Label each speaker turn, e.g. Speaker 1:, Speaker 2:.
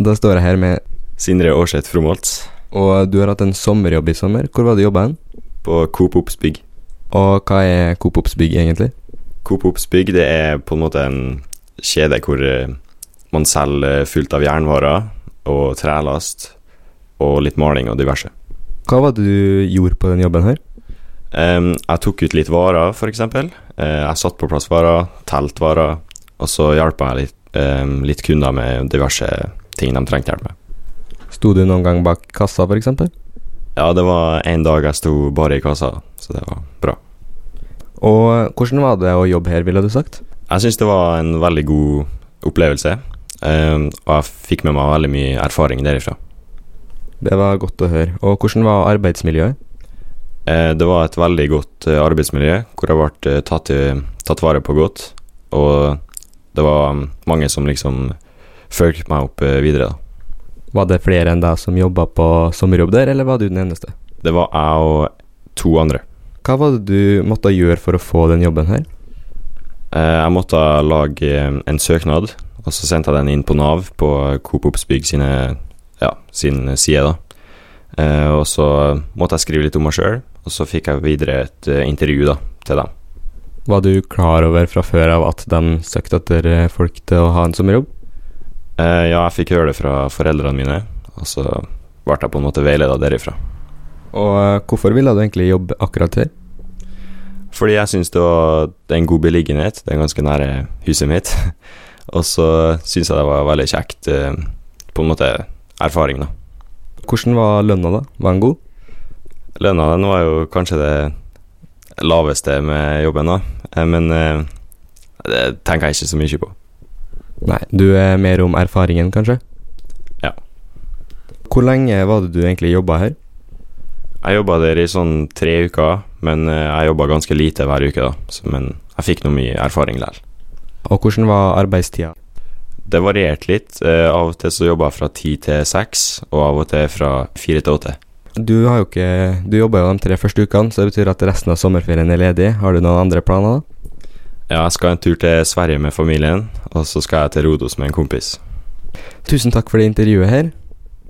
Speaker 1: Da står jeg her med
Speaker 2: Sindre Aarseth Fromholtz
Speaker 1: Og du har hatt en sommerjobb i sommer. Hvor var det du jobba hen?
Speaker 2: på Coop Ops Bygg.
Speaker 1: Og hva er Coop Ops bygg, egentlig?
Speaker 2: Coop Ops Bygg det er på en måte en kjede hvor eh, man selger fullt av jernvarer og trelast og litt maling og diverse.
Speaker 1: Hva var det du gjorde på den jobben her?
Speaker 2: Em, jeg tok ut litt varer, f.eks. jeg satte på plass varer, telt varer, og så hjalp jeg litt, em, litt kunder med diverse ting de trengte hjelp med.
Speaker 1: Sto du noen gang bak kassa, f.eks.?
Speaker 2: Ja, det var en dag jeg sto bare i kassa, så det var bra.
Speaker 1: Og hvordan var det å jobbe her, ville du sagt?
Speaker 2: Jeg syns det var en veldig god opplevelse, em, og jeg fikk med meg veldig mye erfaring derifra.
Speaker 1: Det var godt å høre. Og hvordan var arbeidsmiljøet?
Speaker 2: Eh, Det var et veldig godt eh, arbeidsmiljø, hvor jeg ble eh, tatt, i- tatt vare på godt. Og det var mm, mange som liksom fulgte meg opp eh, videre. da.
Speaker 1: Var det flere enn deg som jobba på sommerjobb der, eller var du den eneste?
Speaker 2: Det var jeg og to andre.
Speaker 1: Hva var det du måtte gjøre for å få den jobben her?
Speaker 2: Eh, Jeg måtte lage eh, en søknad, og så sendte jeg den inn på Nav på Coop Ops Bygg sine, ja, sin side. da. Eh, Og så måtte jeg skrive litt om meg sjøl, og så fikk jeg videre et eh, intervju da, til dem.
Speaker 1: Var du klar over fra før av at de søkte etter eh, folk til å ha en sommerjobb?
Speaker 2: Eh, Ja, jeg fikk høre det fra foreldrene mine, og så ble jeg på en måte veileda derifra.
Speaker 1: Og eh, hvorfor ville du egentlig jobbe akkurat her?
Speaker 2: Fordi jeg syns det var det er en god beliggenhet. Det er ganske nære huset mitt. Og så syns jeg det var veldig kjekt, eh, på en måte, erfaring, da.
Speaker 1: Hvordan var lønna, da? Var den god?
Speaker 2: Lønna den var jo kanskje det laveste med jobben, da. Eh, Men eh, det tenker jeg ikke så mye på.
Speaker 1: Nei, du er mer om erfaringen, kanskje?
Speaker 2: Ja.
Speaker 1: Hvor lenge var det du egentlig jobba her?
Speaker 2: Jeg jobba der i sånn tre uker, men eh, jeg jobba ganske lite hver uke, da. Så, men jeg fikk nå mye erfaring likevel.
Speaker 1: Og hvordan var arbeidstida?
Speaker 2: Det varierte litt. Eh, Av og til så jobba jeg fra ti til seks, og av og til fra fire til åtte.
Speaker 1: Du har jo ikke Du jobba jo de tre første ukene, så det betyr at resten av sommerferien er ledig. Har du noen andre planer, da?
Speaker 2: Ja, jeg skal en tur til Sverige med familien, og så skal jeg til Rodos med en kompis.
Speaker 1: Tusen takk for det intervjuet her.